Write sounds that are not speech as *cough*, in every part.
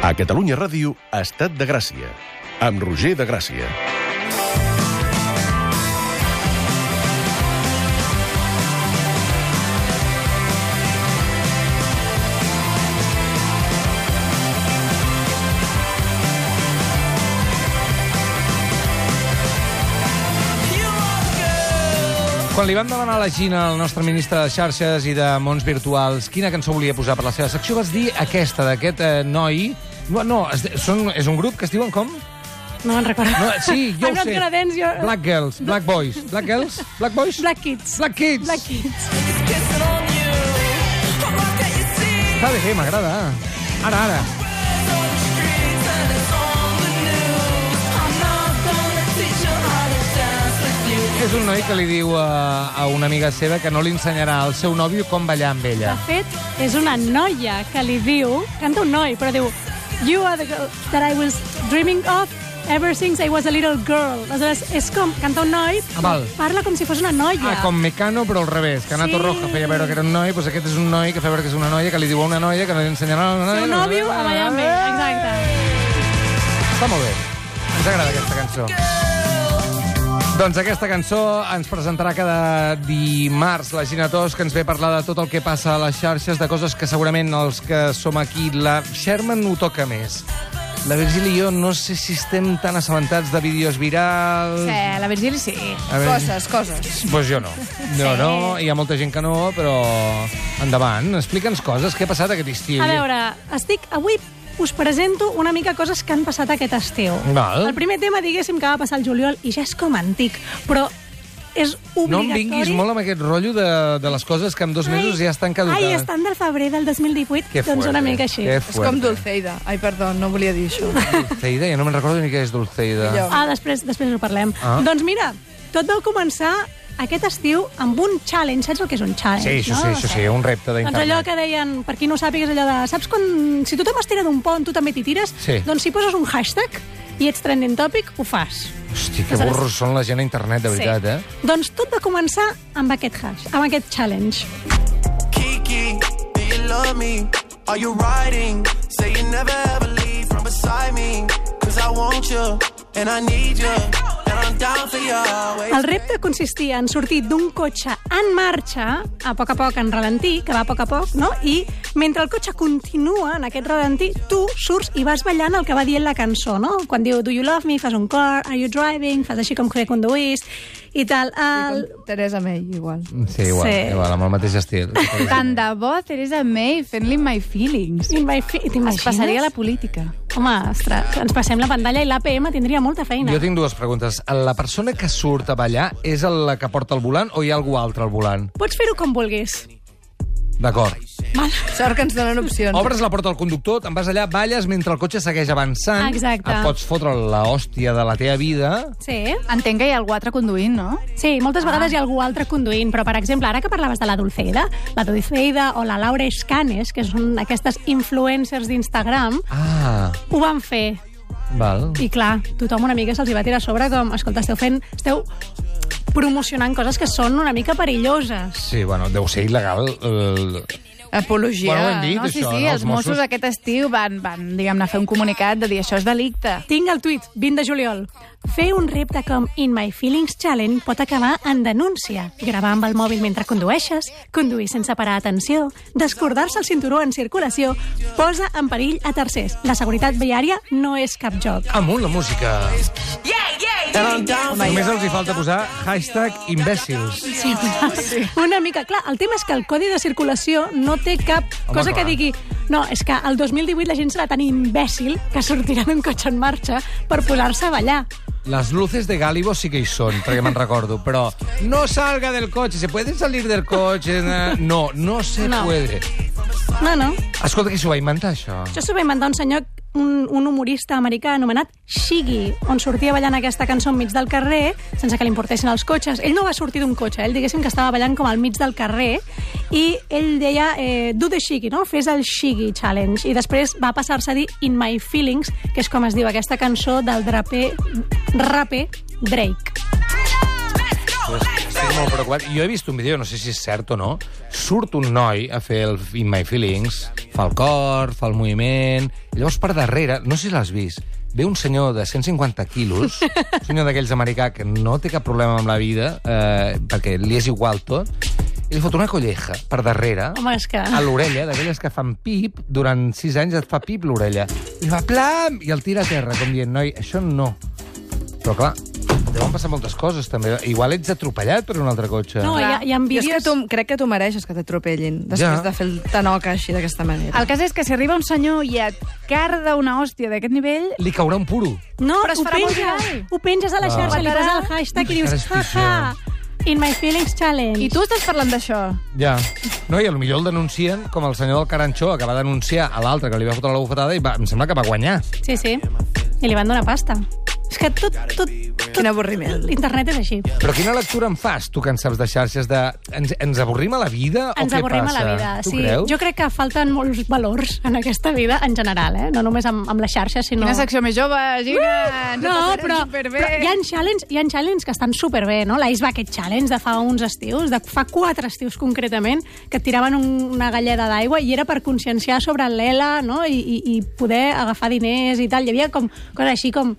A Catalunya Ràdio, Estat de Gràcia, amb Roger de Gràcia. Quan li van demanar a la Gina, al nostre ministre de xarxes i de mons virtuals, quina cançó volia posar per la seva secció, vas dir aquesta, d'aquest eh, noi... No, no es, de- són, és un grup que es diuen com? No me'n recordo. No, *laughs* sí, jo I'm ho not sé. gonna dance, jo... Black Girls, Black Boys, Black Girls, Black Boys? Black Kids. Black Kids. Black Kids. Està bé, m'agrada. Ara, ara. És un noi que li diu a, a una amiga seva que no li ensenyarà al seu nòvio com ballar amb ella. De fet, és una noia que li diu... Canta un noi, però diu... You are the girl that I was dreaming of ever since I was a little girl. Aleshores, és com... Canta un noi, Ah, val. parla com si fos una noia. Ah, com Mecano, però al revés. Que Nato Sí. Roja feia veure que era un noi, doncs aquest és un noi que feia veure que és una noia, que li diu a una noia que no li ensenyarà... a Una noia, Eh! Seu nòvio a Miami, exacte. Està molt bé. Ens agrada aquesta cançó. Doncs aquesta cançó ens presentarà cada dimarts la Gina Tos, que ens ve a parlar de tot el que passa a les xarxes, de coses que segurament els que som aquí, la Sherman ho toca més. La Virgili i jo no sé si estem tan assabentats de vídeos virals... Sí, la Virgili sí. A veure. Coses, coses. Doncs pues jo no. No, no, hi ha molta gent que no, però endavant. Explica'ns coses, què ha passat aquest estiu? A veure, estic... Avui us presento una mica coses que han passat aquest estiu. Val. El primer tema, diguéssim, que va passar el juliol, i ja és com antic, però és obligatori... No em vinguis molt amb aquest rotllo de, de les coses que en dos mesos ja estan caducades. Ai, estan del febrer del 2018, Que doncs fuerte, una mica així. que És com Fuerte. Dulceida. Ai, perdó, no volia dir *laughs* això. Dulceida, ja no me'n recordo ni què és Dulceida. Jo. Ah, després, després ho parlem. Ah. Doncs mira, tot va començar aquest estiu amb un challenge. Saps el que és un challenge, Sí, això no? sí, això sí, un repte Doncs allò d'internet. que deien, per qui no ho sàpiga, és allò de... Saps quan... Si tothom es tira d'un pont, tu també t'hi tires? Sí. Doncs si poses un hashtag i ets trending topic, ho fas. Hosti, que burros són la gent a internet, de veritat, eh? Doncs tot va començar amb aquest hash, amb aquest challenge. Kiki, do you love me? Are you riding? Say you never ever leave from beside me. Cause I want you, and I need you, and I'm down for you always. El repte consistia en sortir d'un cotxe en marxa, a poc a poc en ralentí, que va a poc a poc, no? I mentre el cotxe continua en aquest ralentí, tu surts i vas ballant el que va dient la cançó, no? Quan diu Do you love me? Fas un cor, Are you driving? Fas així com que conduïs i tal. El... Teresa May, igual. Sí, igual, Sí. igual, amb el mateix *laughs* estil. Tant de bo Teresa May fent-li My Feelings. In my feet, Es passaria a la política. Home, ostres, ens passem la pantalla i l'APM tindria molta feina. Jo tinc dues preguntes. La persona que surt a ballar és la que porta el volant o hi ha algú altre al volant? Pots fer-ho com vulguis. D'acord. Val? Sort que ens donen opcions. Doncs- Obres la porta al conductor, te'n vas allà, balles mentre el cotxe segueix avançant. Exacte. Et pots fotre la hòstia de la teva vida. Sí. Entenc que hi ha algú altre conduint, no? Ah. Sí, moltes vegades hi ha algú altre conduint, però, per exemple, ara que parlaves de la Dulceida, la Dulceida o la Laura Escanes, que són aquestes influencers d'Instagram, Ah, ho van fer. val. I, clar, tothom una mica se'ls hi va tirar a sobre com, escolta, esteu fent... esteu promocionant coses que són una mica perilloses. Sí, bueno, deu ser il·legal. eh, El... Apologia. Bueno, ho hem dit, no? Sí, això, no? sí, Els els Mossos Mossos aquest estiu van, van diguem-ne, fer un comunicat de dir això és delicte. Tinc el tuit, 20 de juliol. Fer un repte com In My Feelings Challenge pot acabar en denúncia. Gravar amb el mòbil mentre condueixes, conduir sense parar atenció, descordar-se el cinturó en circulació, posa en perill a tercers. La seguretat viària no és cap joc. Amunt la música. And I'm down for Només els hi falta posar hashtag imbècils. Sí, sí. *laughs* Una mica, clar, el tema és que el codi de circulació no té cap Home, cosa clar. que digui... No, és que el 2018 la gent serà tan imbècil que sortirà d'un cotxe en marxa per posar-se a ballar. Las luces de Gálibo sí que hi són, perquè me'n recordo, però no salga del cotxe, se puede salir del cotxe... na- No, no se No. puede. No, no. Escolta, qui s'ho va inventar, això? Això s'ho va inventar un senyor, un, un humorista americà anomenat Shiggy, on sortia ballant aquesta cançó enmig del carrer, sense que li importessin els cotxes. Ell no va sortir d'un cotxe, ell diguéssim que estava ballant com al mig del carrer, i ell deia, eh, do the Shiggy, no? Fes el Shiggy Challenge. I després va passar-se a dir In My Feelings, que és com es diu aquesta cançó del draper, raper Drake. Estic estic molt preocupat. Jo he vist un vídeo, no sé si és cert o no, surt un noi a fer el In My Feelings, fa el cor, fa el moviment, i llavors per darrere, no sé si l'has vist, ve un senyor de 150 quilos, un senyor d'aquells americà que no té cap problema amb la vida, eh, perquè li és igual tot, i li fot una colleja per darrere, Home, és que... a l'orella, d'aquelles que fan pip, durant sis anys et fa pip l'orella. I va plam! I el tira a terra, com dient, noi, això no. Però clar, deuen passar moltes coses, també. Igual ets atropellat per un altre cotxe. No, eh. hi ha, hi ha Jo és que vídeos... tu, crec que tu mereixes que t'atropellin, després Ja. de fer el tanoca així, d'aquesta manera. El cas és que si arriba un senyor i et carda una hòstia d'aquest nivell, Li caurà un puro. No, Però es ho farà molt penges, viral. ho penges a la xarxa, li Petarà. poses el hashtag i Ui, dius, encara és haha, in my feelings challenge. i tu estàs parlant d'això. Ja. No, i a lo millor el denuncien com el senyor del Caranxó, que va denunciar a l'altre que li va fotre la bufetada i va, em sembla que va guanyar. Sí, sí. I li van donar pasta. És que tot, tot, tot Quin avorriment. l'internet és així. Però quina lectura en fas, tu, que en saps de xarxes de... Ens, ens avorrim a la vida Ens o què avorrim passa? a la vida. Tu creus? Jo crec que falten molts valors en aquesta vida, en general, eh? no només amb, amb la xarxa, sinó... Quina secció més jove, Gina! ens No, ho passarem però, superbé. però hi, ha challenge, hi ha challenge que estan superbé, no? L'Ice Bucket Challenge de fa uns estius, de fa quatre estius concretament, que et tiraven un, una galleda d'aigua i era per conscienciar sobre l'ELA no? I, i, i poder agafar diners i tal. Hi havia com coses així com...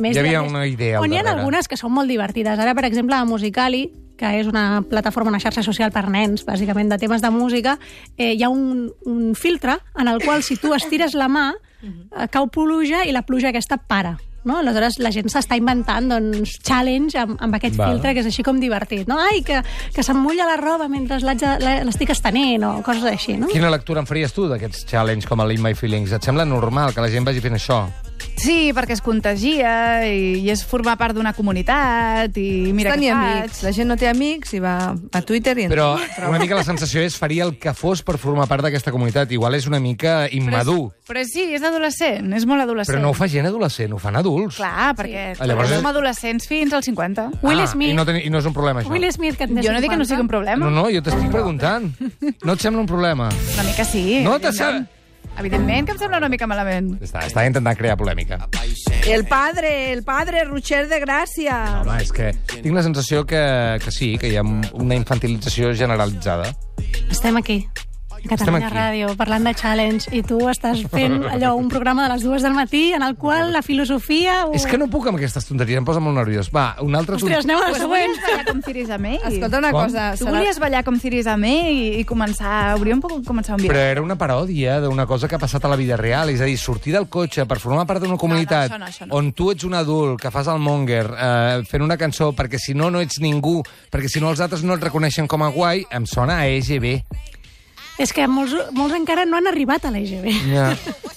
Més Hi havia més- una idea al On hi ha darrere. algunes que són molt divertides. Ara, per exemple, a Musicali, que és una plataforma, una xarxa social per nens, bàsicament, de temes de música, eh, hi ha un, un filtre en el qual, si tu estires la mà, eh, cau pluja i la pluja aquesta para. No? Aleshores, la gent s'està inventant doncs, challenge amb, amb aquest Val. filtre, que és així com divertit. No? Ai, que, que se'm mulla la roba mentre l'haig de- la- l'estic estenent, o coses així. No? Quina lectura en faries tu d'aquests challenge com el In My Feelings? Et sembla normal que la gent vagi fent això? Sí, perquè es contagia i, i és formar part d'una comunitat i Mira mira què ni faig. amics. La gent no té amics i va a Twitter i... Però una mica la sensació és faria el que fos per formar part d'aquesta comunitat. Igual és una mica immadur. Però sí, és adolescent, és molt adolescent. Però no ho fa gent adolescent, ho fan adults. Clar, perquè, Ah, sí. llavors perquè és- som adolescents fins als 50. Will ah, Smith. I no, teni... I no és un problema, això. Will Smith, que en té Jo no dic que no 50. sigui un problema. No, no, jo t'estic preguntant. No et sembla un problema? Una mica eh, sí. No, te evidentment. Evidentment que em sembla una mica malament. Està, està intentant crear polèmica. El padre, el padre, Rocher de Gràcia. Home, és que tinc la sensació que, que sí, que hi ha una infantilització generalitzada. Estem aquí, a Catalunya aquí. Ràdio, parlant de challenge, i tu estàs *laughs* fent allò, un programa de les dues del matí en el qual la filosofia... O... És que no puc amb aquestes tonteries, em posa molt nerviós. Va, un altre... ton- Ostres, anem a la Pues següent. volies ballar com Ciris Amé? Escolta una Com? cosa. Tu se la- volies ballar com Ciris Amé i, i començar... Hauríem pogut començar un Però viatge. era una paròdia d'una cosa que ha passat a la vida real, és a dir, sortir del cotxe per formar part d'una comunitat això no, això no. on tu ets un adult, que fas el monger, eh, fent una cançó, perquè si no, no ets ningú, perquè si no els altres no et reconeixen com a guai, em sona a E EGB. És que molts, molts encara no han arribat a l'EGB. Ja.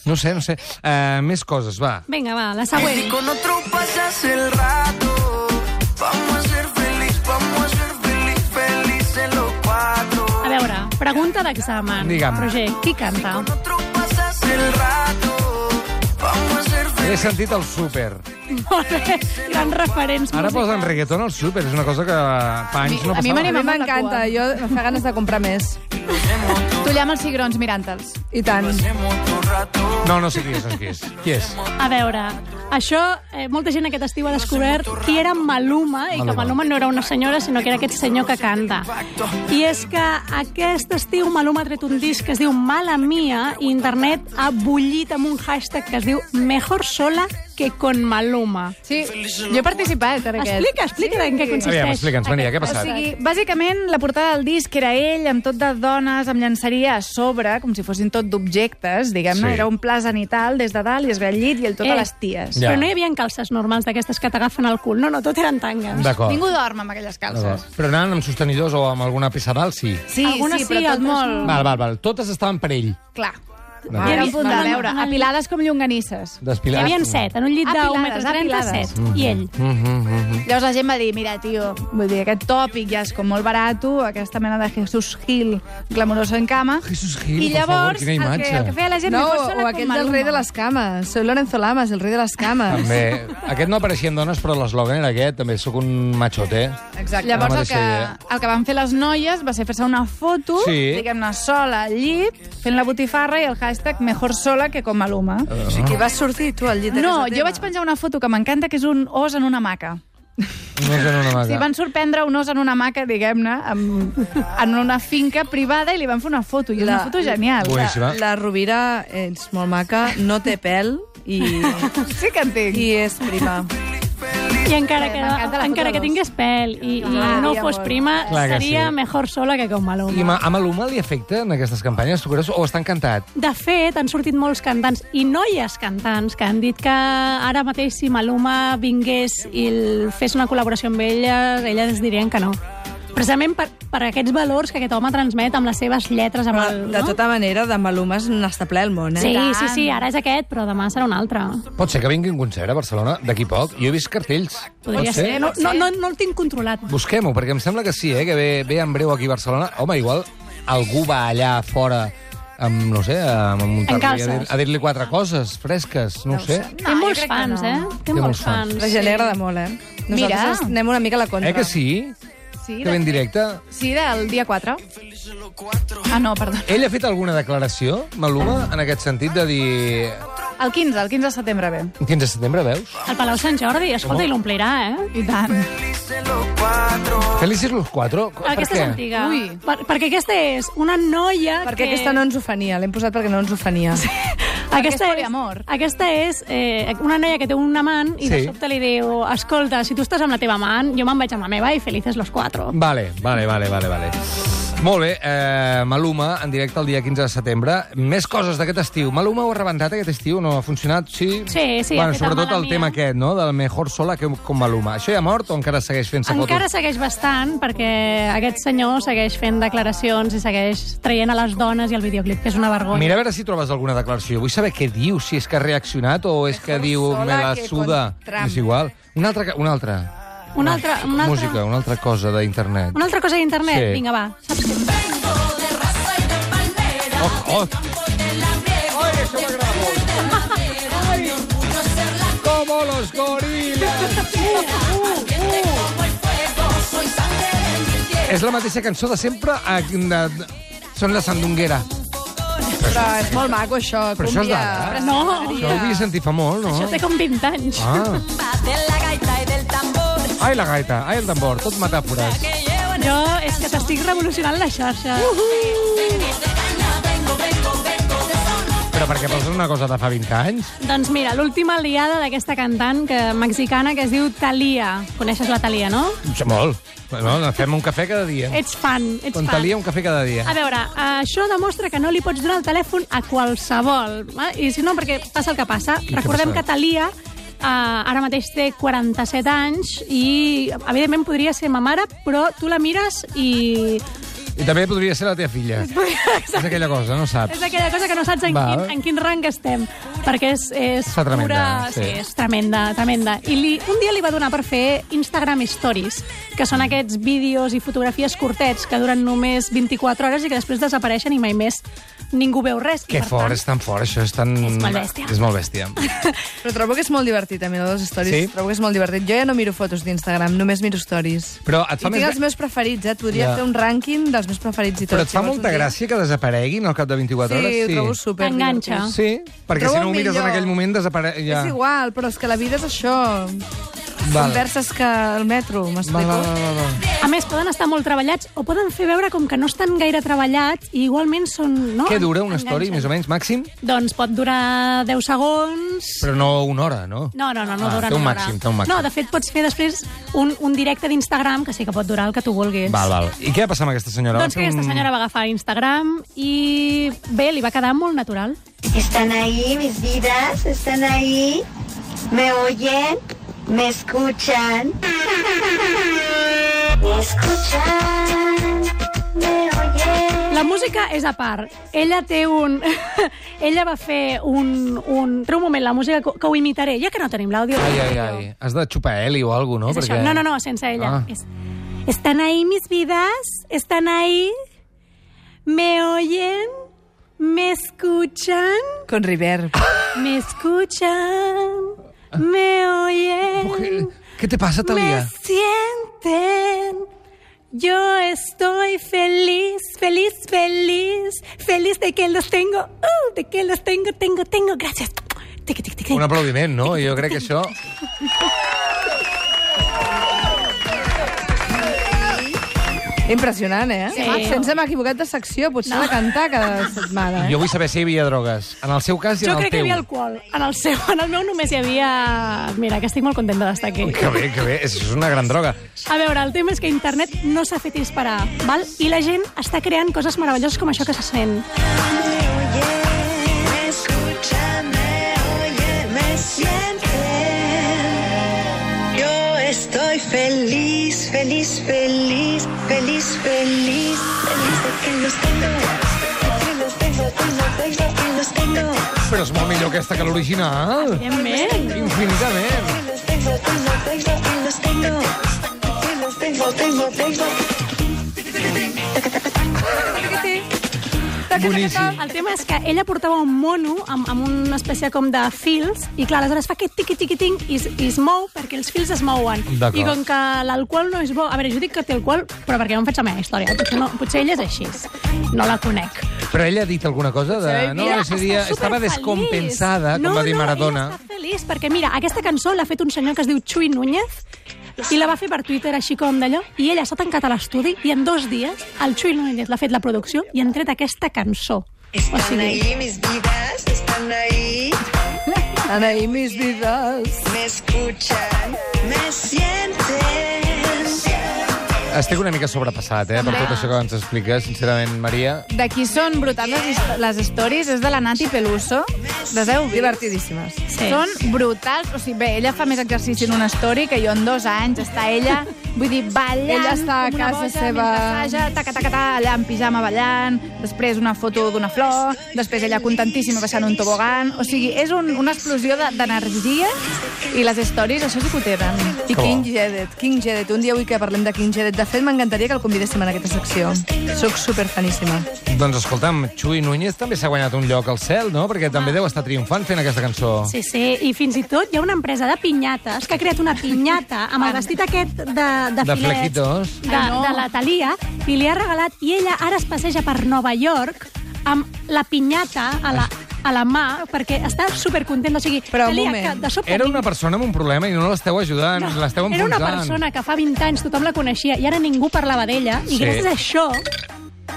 No sé, no sé. Eh, més coses, va. Vinga, va, la següent. Si con otro pasas el rato, vamos a ser feliz, vamos a ser feliz, felices los cuatro. A veure, pregunta d'examen. Digue'm. Roger, qui canta? *laughs* Con otro pasas el rato, vamos a ser He feliz. sentit el súper. Molt bé, grans referents Ara musicals. posen reggaeton al súper, és una cosa que fa anys no a mi passava. A mi m'anima molt la m'encanta, cua. jo em fa ganes de comprar més. Tu allà amb els cigrons mirant-te'ls. I tant. Hacemos otro rato. No, no sé qui és, no sé qui és. Qui és? A veure, això, eh, molta gent aquest estiu ha descobert qui era Maluma, i que Maluma. Maluma no era una senyora, sinó que era aquest senyor que canta. I és que aquest estiu Maluma ha tret un disc que es diu Mala Mia, i internet ha bullit amb un hashtag que es diu Mejor sola que con Maluma. Sí, jo he participat en aquest. Explica, explica sí. en què consisteix. Aviam, explica'ns, Maria, què ha O passat? sigui, bàsicament, la portada del disc era ell amb tot de dones, amb llançaria a sobre, com si fossin tot d'objectes, diguem-ne. Sí. Era un pla zenital des de dalt i es ve al llit i el tot Eh. a les ties. Ja. Però no hi havia calces normals d'aquestes que t'agafen al cul. No, no, tot eren tangues. D'acord. Ningú dorm amb aquelles calces. D'acord. Però anaven amb sostenidors o amb alguna peça dalt, sí. Sí, Algunes sí, però sí, tot altres molt... no. Val, val, val. Totes estaven per ell. Clar. D'acord. Era un punt de Hi havia- veure. Apilades com llonganisses. Hi Despilades. havia set, en un llit d'un metre Apilades, trenta, apilades. set. Mm. I ell. Mm-hmm. Llavors la gent va dir, mira, tio, vull dir, aquest tòpic ja és com molt barato, aquesta mena de Jesús Gil glamoroso en cama. Jesús Gil, I per favor, llavors, quina el, que, imatge. el que feia la gent... No, mejor sola o con aquest del Maluma. rei de les cames. Soy Lorenzo Lamas, el rei de les cames. També. Aquest no apareixien dones, però l'eslògan era aquest. També sóc un machote. Exacte. Llavors La el mateixa que, idea. el que van fer les noies va ser fer-se una foto, Sí. diguem-ne, sola al llit, fent la botifarra i el hashtag mejor sola que com Maluma. Ah. O sigui, vas sortir tu al llit No, jo vaig penjar una foto que m'encanta, que és un os en una hamaca. No és en una Sí, maca. van sorprendre un os en una maca, diguem-ne, amb- en una finca privada i li van fer una foto, i és una La- foto genial. Boníssima. La Rovira, ets molt maca, no té pèl i, Sí que en tinc. i és prima. I encara que, M'encanta la encara foto que dos. tingués pèl i, i Ah, no ja fos vol. prima, Clar que seria sí. mejor sola que con Maluma. I ma- a Maluma li afecten aquestes campanyes? Tu creus? O està encantat? De fet, han sortit molts cantants i noies cantants que han dit que ara mateix si Maluma vingués i el- fes una col·laboració amb elles, elles dirien que no. Precisament per, per aquests valors que aquest home transmet amb les seves lletres, amb el... De no? tota manera, de malumes n'està ple el món, eh? Sí, sí, sí, ara és aquest, però demà serà un altre. Pot ser que vingui un concert a Barcelona d'aquí poc? Jo he vist cartells. Podria Pot ser? ser. No, no, no, no el tinc controlat. Busquem-ho, perquè em sembla que sí, eh, que ve, ve en breu aquí a Barcelona. Home, igual algú va allà fora amb, no sé, a muntar a calces. dir- a dir-li quatre coses fresques, no ho sé. No, Té molts crec que fans, no. eh? Té molts fans. La gent li agrada molt, eh? Nosaltres Mira. ens anem una mica a la Doncs contra. Eh que sí? Sí, Que de- ben directe. sí, del dia 4. Ah, no, perdó. Ell ha fet alguna declaració, Maluma, en aquest sentit de dir... El 15, el 15 de setembre ve. 15 de setembre, veus? El Palau Sant Jordi, escolta, i l'omplirà, eh? I tant. Felices los cuatro? Aquesta és antiga. Ui. Per, perquè aquesta és una noia Perquè que... aquesta no ens ofenia, l'hem posat perquè no ens ofenia. Sí. Aquesta és és, poliamor. aquesta és eh, una noia que té un amant i sí. de Sí. sobte li diu escolta, si tu estàs amb la teva amant, jo me'n vaig amb la meva i felices los cuatro. Vale, vale, vale, vale, vale. Molt bé, eh, Maluma, en directe el dia 15 de setembre. Més coses d'aquest estiu. Maluma ho ha rebentat aquest estiu, no? Ha funcionat, sí? Sí, sí, ha Bueno, fet el sobretot el Mala tema Mía. aquest, no? Del mejor sola que com Maluma. Això ja ha mort o encara segueix fent-se fotos? Encara segueix bastant, perquè aquest senyor segueix fent declaracions i segueix traient a les dones i el videoclip, que és una vergonya. Mira a veure si trobes alguna declaració. Vull saber què diu, si és que ha reaccionat o és que diu sola me la que suda. con Trump. És igual. Una altra... que- Una altra. Una altra, una altra, Música, una altra cosa d'internet. una altra cosa d'internet. Sí. Vinga, va. Saps què? Oh, oh, como los gorilas. És la mateixa cançó de sempre. A, a, són la sandunguera. Però és molt maco, això. Però això és eh? cumbia. d'ara. No, Això ho havia sentit fa molt, això no? té com 20 anys. Ah. Ai, la gaita, ai, el tambor, tot metàfores. Jo és que t'estic revolucionant la xarxa. Però perquè posen una cosa de fa 20 anys? Doncs mira, l'última aliada d'aquesta cantant que, mexicana que es diu Thalia. Coneixes la Thalia, no? Sí, molt. Bueno, fem un cafè cada dia. Ets fan, ets Con fan. Talia, un cafè cada dia. A veure, això demostra que no li pots donar el telèfon a qualsevol. eh? I si no, perquè passa el que passa. què Recordem passa? que Thalia eh, ara mateix té 47 anys i, evidentment, podria ser ma mare, però tu la mires i... I també podria ser la teva *laughs* filla. És aquella cosa, no saps. És aquella cosa que no saps en, Va. quin, en quin rang estem, perquè és, és Està tremenda, pura... Sí. sí. és tremenda, tremenda. I li, un dia li va donar per fer Instagram Stories, que són aquests vídeos i fotografies curtets que duren només 24 hores i que després desapareixen i mai més ningú veu res. I, Que per fort, tant, és tan fort, això és tan... És molt bèstia. És molt *laughs* bèstia. Però trobo que és molt divertit, a mirar les stories. Sí? Trobo que és molt divertit. Jo ja no miro fotos d'Instagram, només miro stories. Però et I fa, tinc més... els meus preferits, eh? Et Ja. podria fer un rànquing dels meus preferits i tot. Però et si fa vols un molta dia. gràcia que desapareguin al cap de 24 Sí, hores? ho trobo super Enganxa. Sí, perquè Trobo si no ho el mires en millor. aquell moment desapareix... Ja. És igual, però és que la vida és això. Val. Converses que al metro, Va, va, m'explico? va, va, va. A més, poden estar molt treballats o poden fer veure com que no estan gaire treballats i igualment són... No? Què dura una Enganxen. story, més o menys, màxim? Doncs pot durar 10 segons, Però no una hora, no? No, no, no, no Ah, dura té un no dura. màxim, té un màxim. No, de fet, pots fer després un, un directe d'Instagram, que sí que pot durar el que tu vulguis. Val, val. I què va passar amb aquesta senyora? Va Doncs que fer aquesta un- senyora va agafar Instagram i bé, li va quedar molt natural. Están ahí mis vidas, están ahí, me oyen, me escuchan. Me escuchan, me oyen. La música és a part. Ella té un... *laughs* Ella va fer un... un... Treu un moment la música que, que ho imitaré, ja que no tenim l'àudio. Ai, ai, ai. Has de xupar heli o alguna És cosa, no? això. No, no, no, sense ella. Ah. És... Están ahí mis vidas, están ahí, me oyen, me escuchan. Con River. Ah. Me escuchan, me Què, oyen, què te passa, me Talia? sienten. Yo estoy feliz, feliz, feliz, feliz de que los tengo, uh, de que los tengo, tengo, tengo, gracias. Tic, tic, tic, tic. Un aplaudiment, no? Jo crec que això... Impressionant, eh? Sí. Si ens hem equivocat de secció, potser no. de cantar cada setmana. Eh? Jo vull saber si hi havia drogues. En el seu cas i Jo en el crec que hi teu. havia alcohol. En el seu, en el meu només hi havia... Mira, que estic molt contenta d'estar aquí. Que bé, que bé. És una gran droga. A veure, el tema és que internet no s'ha fet disparar, val? I la gent està creant coses meravelloses com això que se sent. Oye, escúchame, oye, me sientes. Yo estoy feliz, feliz, feliz, feliz, feliz, feliz de que los tengo, de que los tengo, tengo, tengo, que los tengo, Però és molt millor aquesta que l'original. Evidentment. Infinitament. que los tengo, tengo, tengo, que los tengo, que los tengo, tengo, tengo. Boníssim. El tema és que ella portava un mono amb, amb una espècie com de fils i clar, aleshores fa aquest tiqui-tiqui-ting i, es- i es mou perquè els fils es mouen. D'acord. I com que l'alcohol no és bo... A veure, jo dic que té alcohol, però perquè no em faig la meva història. Potser, no, potser ella és així. No la conec. Però ella ha dit alguna cosa de... No, Mira, ese està dia superfeliç. estava descompensada, com no, va dir Maradona. No, ella està feliç, perquè mira, aquesta cançó l'ha fet un senyor que es diu Chuy Núñez, i la va fer per Twitter, així com d'allò, i ella s'ha tancat a l'estudi, i en dos dies el Chuy Núñez l'ha fet la producció i han tret aquesta cançó. O Están sigui, ahí mis vidas, están ahí, Anaí, mis vides. me escuchan, me sienten. Estic una mica sobrepassat, eh, per tot això que ens expliques, sincerament, Maria. De qui són brutals les his- les stories és de la Nati Peluso. Les heu vist? Divertidíssimes. Sí. Són brutals. O sigui, bé, ella fa més exercici en una story que jo en dos anys. Està ella, vull dir, ballant Ella està a com una casa boja, seva. mentre assaja, taca, taca, taca, allà en pijama ballant, després una foto d'una flor, després ella contentíssima baixant un tobogan. O sigui, és un, una explosió de- d'energia i les stories això sí que ho tenen. I Que bo. King Jedet, King Jedet. Un dia vull que parlem de King Jedet. De fet, m'encantaria que el convidéssim en aquesta secció. Soc superfaníssima. Doncs escolta'm, Xui Núñez també s'ha guanyat un lloc al cel, no? Perquè també deu estar triomfant fent aquesta cançó. Sí, sí, i fins i tot hi ha una empresa de pinyates que ha creat una pinyata amb el vestit aquest de, de, De filets. flequitos. de, Ah, de la Thalia i li ha regalat, i ella ara es passeja per Nova York amb la pinyata a la, a la mà, perquè està supercontenta. O sigui, Però un Thalia, moment. que de sobte... Era una persona amb un problema i no l'esteu ajudant, No, l'esteu Era enfonsant. una persona que fa 20 anys tothom la coneixia i ara ningú parlava d'ella, i Sí. gràcies a això...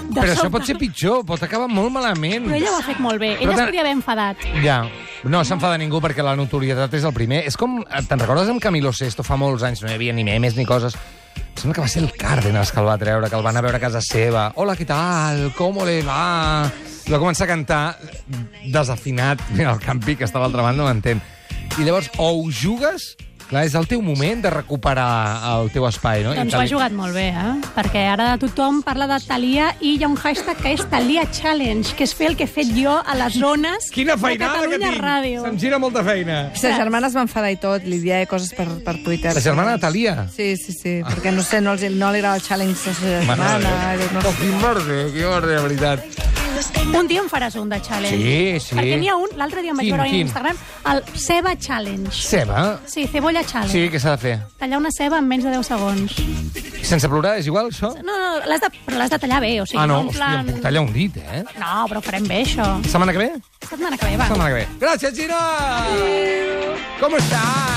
De Però sobte, això pot ser pitjor, pot acabar molt malament. Però ella ho ha fet molt bé. Però Ella es tant- podria haver enfadat. Ja. No s'enfada ningú perquè la notorietat és el primer. És com... Te'n recordes amb Camilo Sesto? Fa molts anys no hi havia ni memes ni coses. Em sembla que va ser el Cárdenas que el va treure, que el van a veure a casa seva. Hola, què tal? ¿Cómo le va? I va començar a cantar desafinat. Mira, el campi que està a l'altra banda m'entén. I llavors, o ho jugues... Clar, és el teu moment de recuperar el teu espai, no? I Doncs ho ha tal- jugat molt bé, eh? Perquè ara tothom parla de Thalia i hi ha un hashtag que és Thalia Challenge, que és fer el que he fet jo a les zones Quina feinada de que Catalunya tinc! Ràdio. Se'm gira molta feina. La germana es va enfadar i tot, li dia coses per, per Twitter. La germana Natalia. Sí, sí, sí, perquè no sé, no, els, no li agrada el challenge de la seva germana. No, Oh, quin merde, quin merde, de veritat. Un dia en faràs un de challenge. Sí, sí. Perquè n'hi ha un, l'altre dia em vaig Quin, veure a quin? Instagram, el Ceba Challenge. Ceba? Sí, cebolla challenge. Sí, què s'ha de fer? Tallar una ceba en menys de 10 segons. Sense plorar, és igual, això? No, no, l'has de, però l'has de tallar bé, o sigui, ah, no, en hòstia, plan... em puc tallar un dit, eh? No, però ho farem bé, això. Setmana que ve? Setmana que ve, va. Setmana que ve. Gràcies, Gina! Com estàs?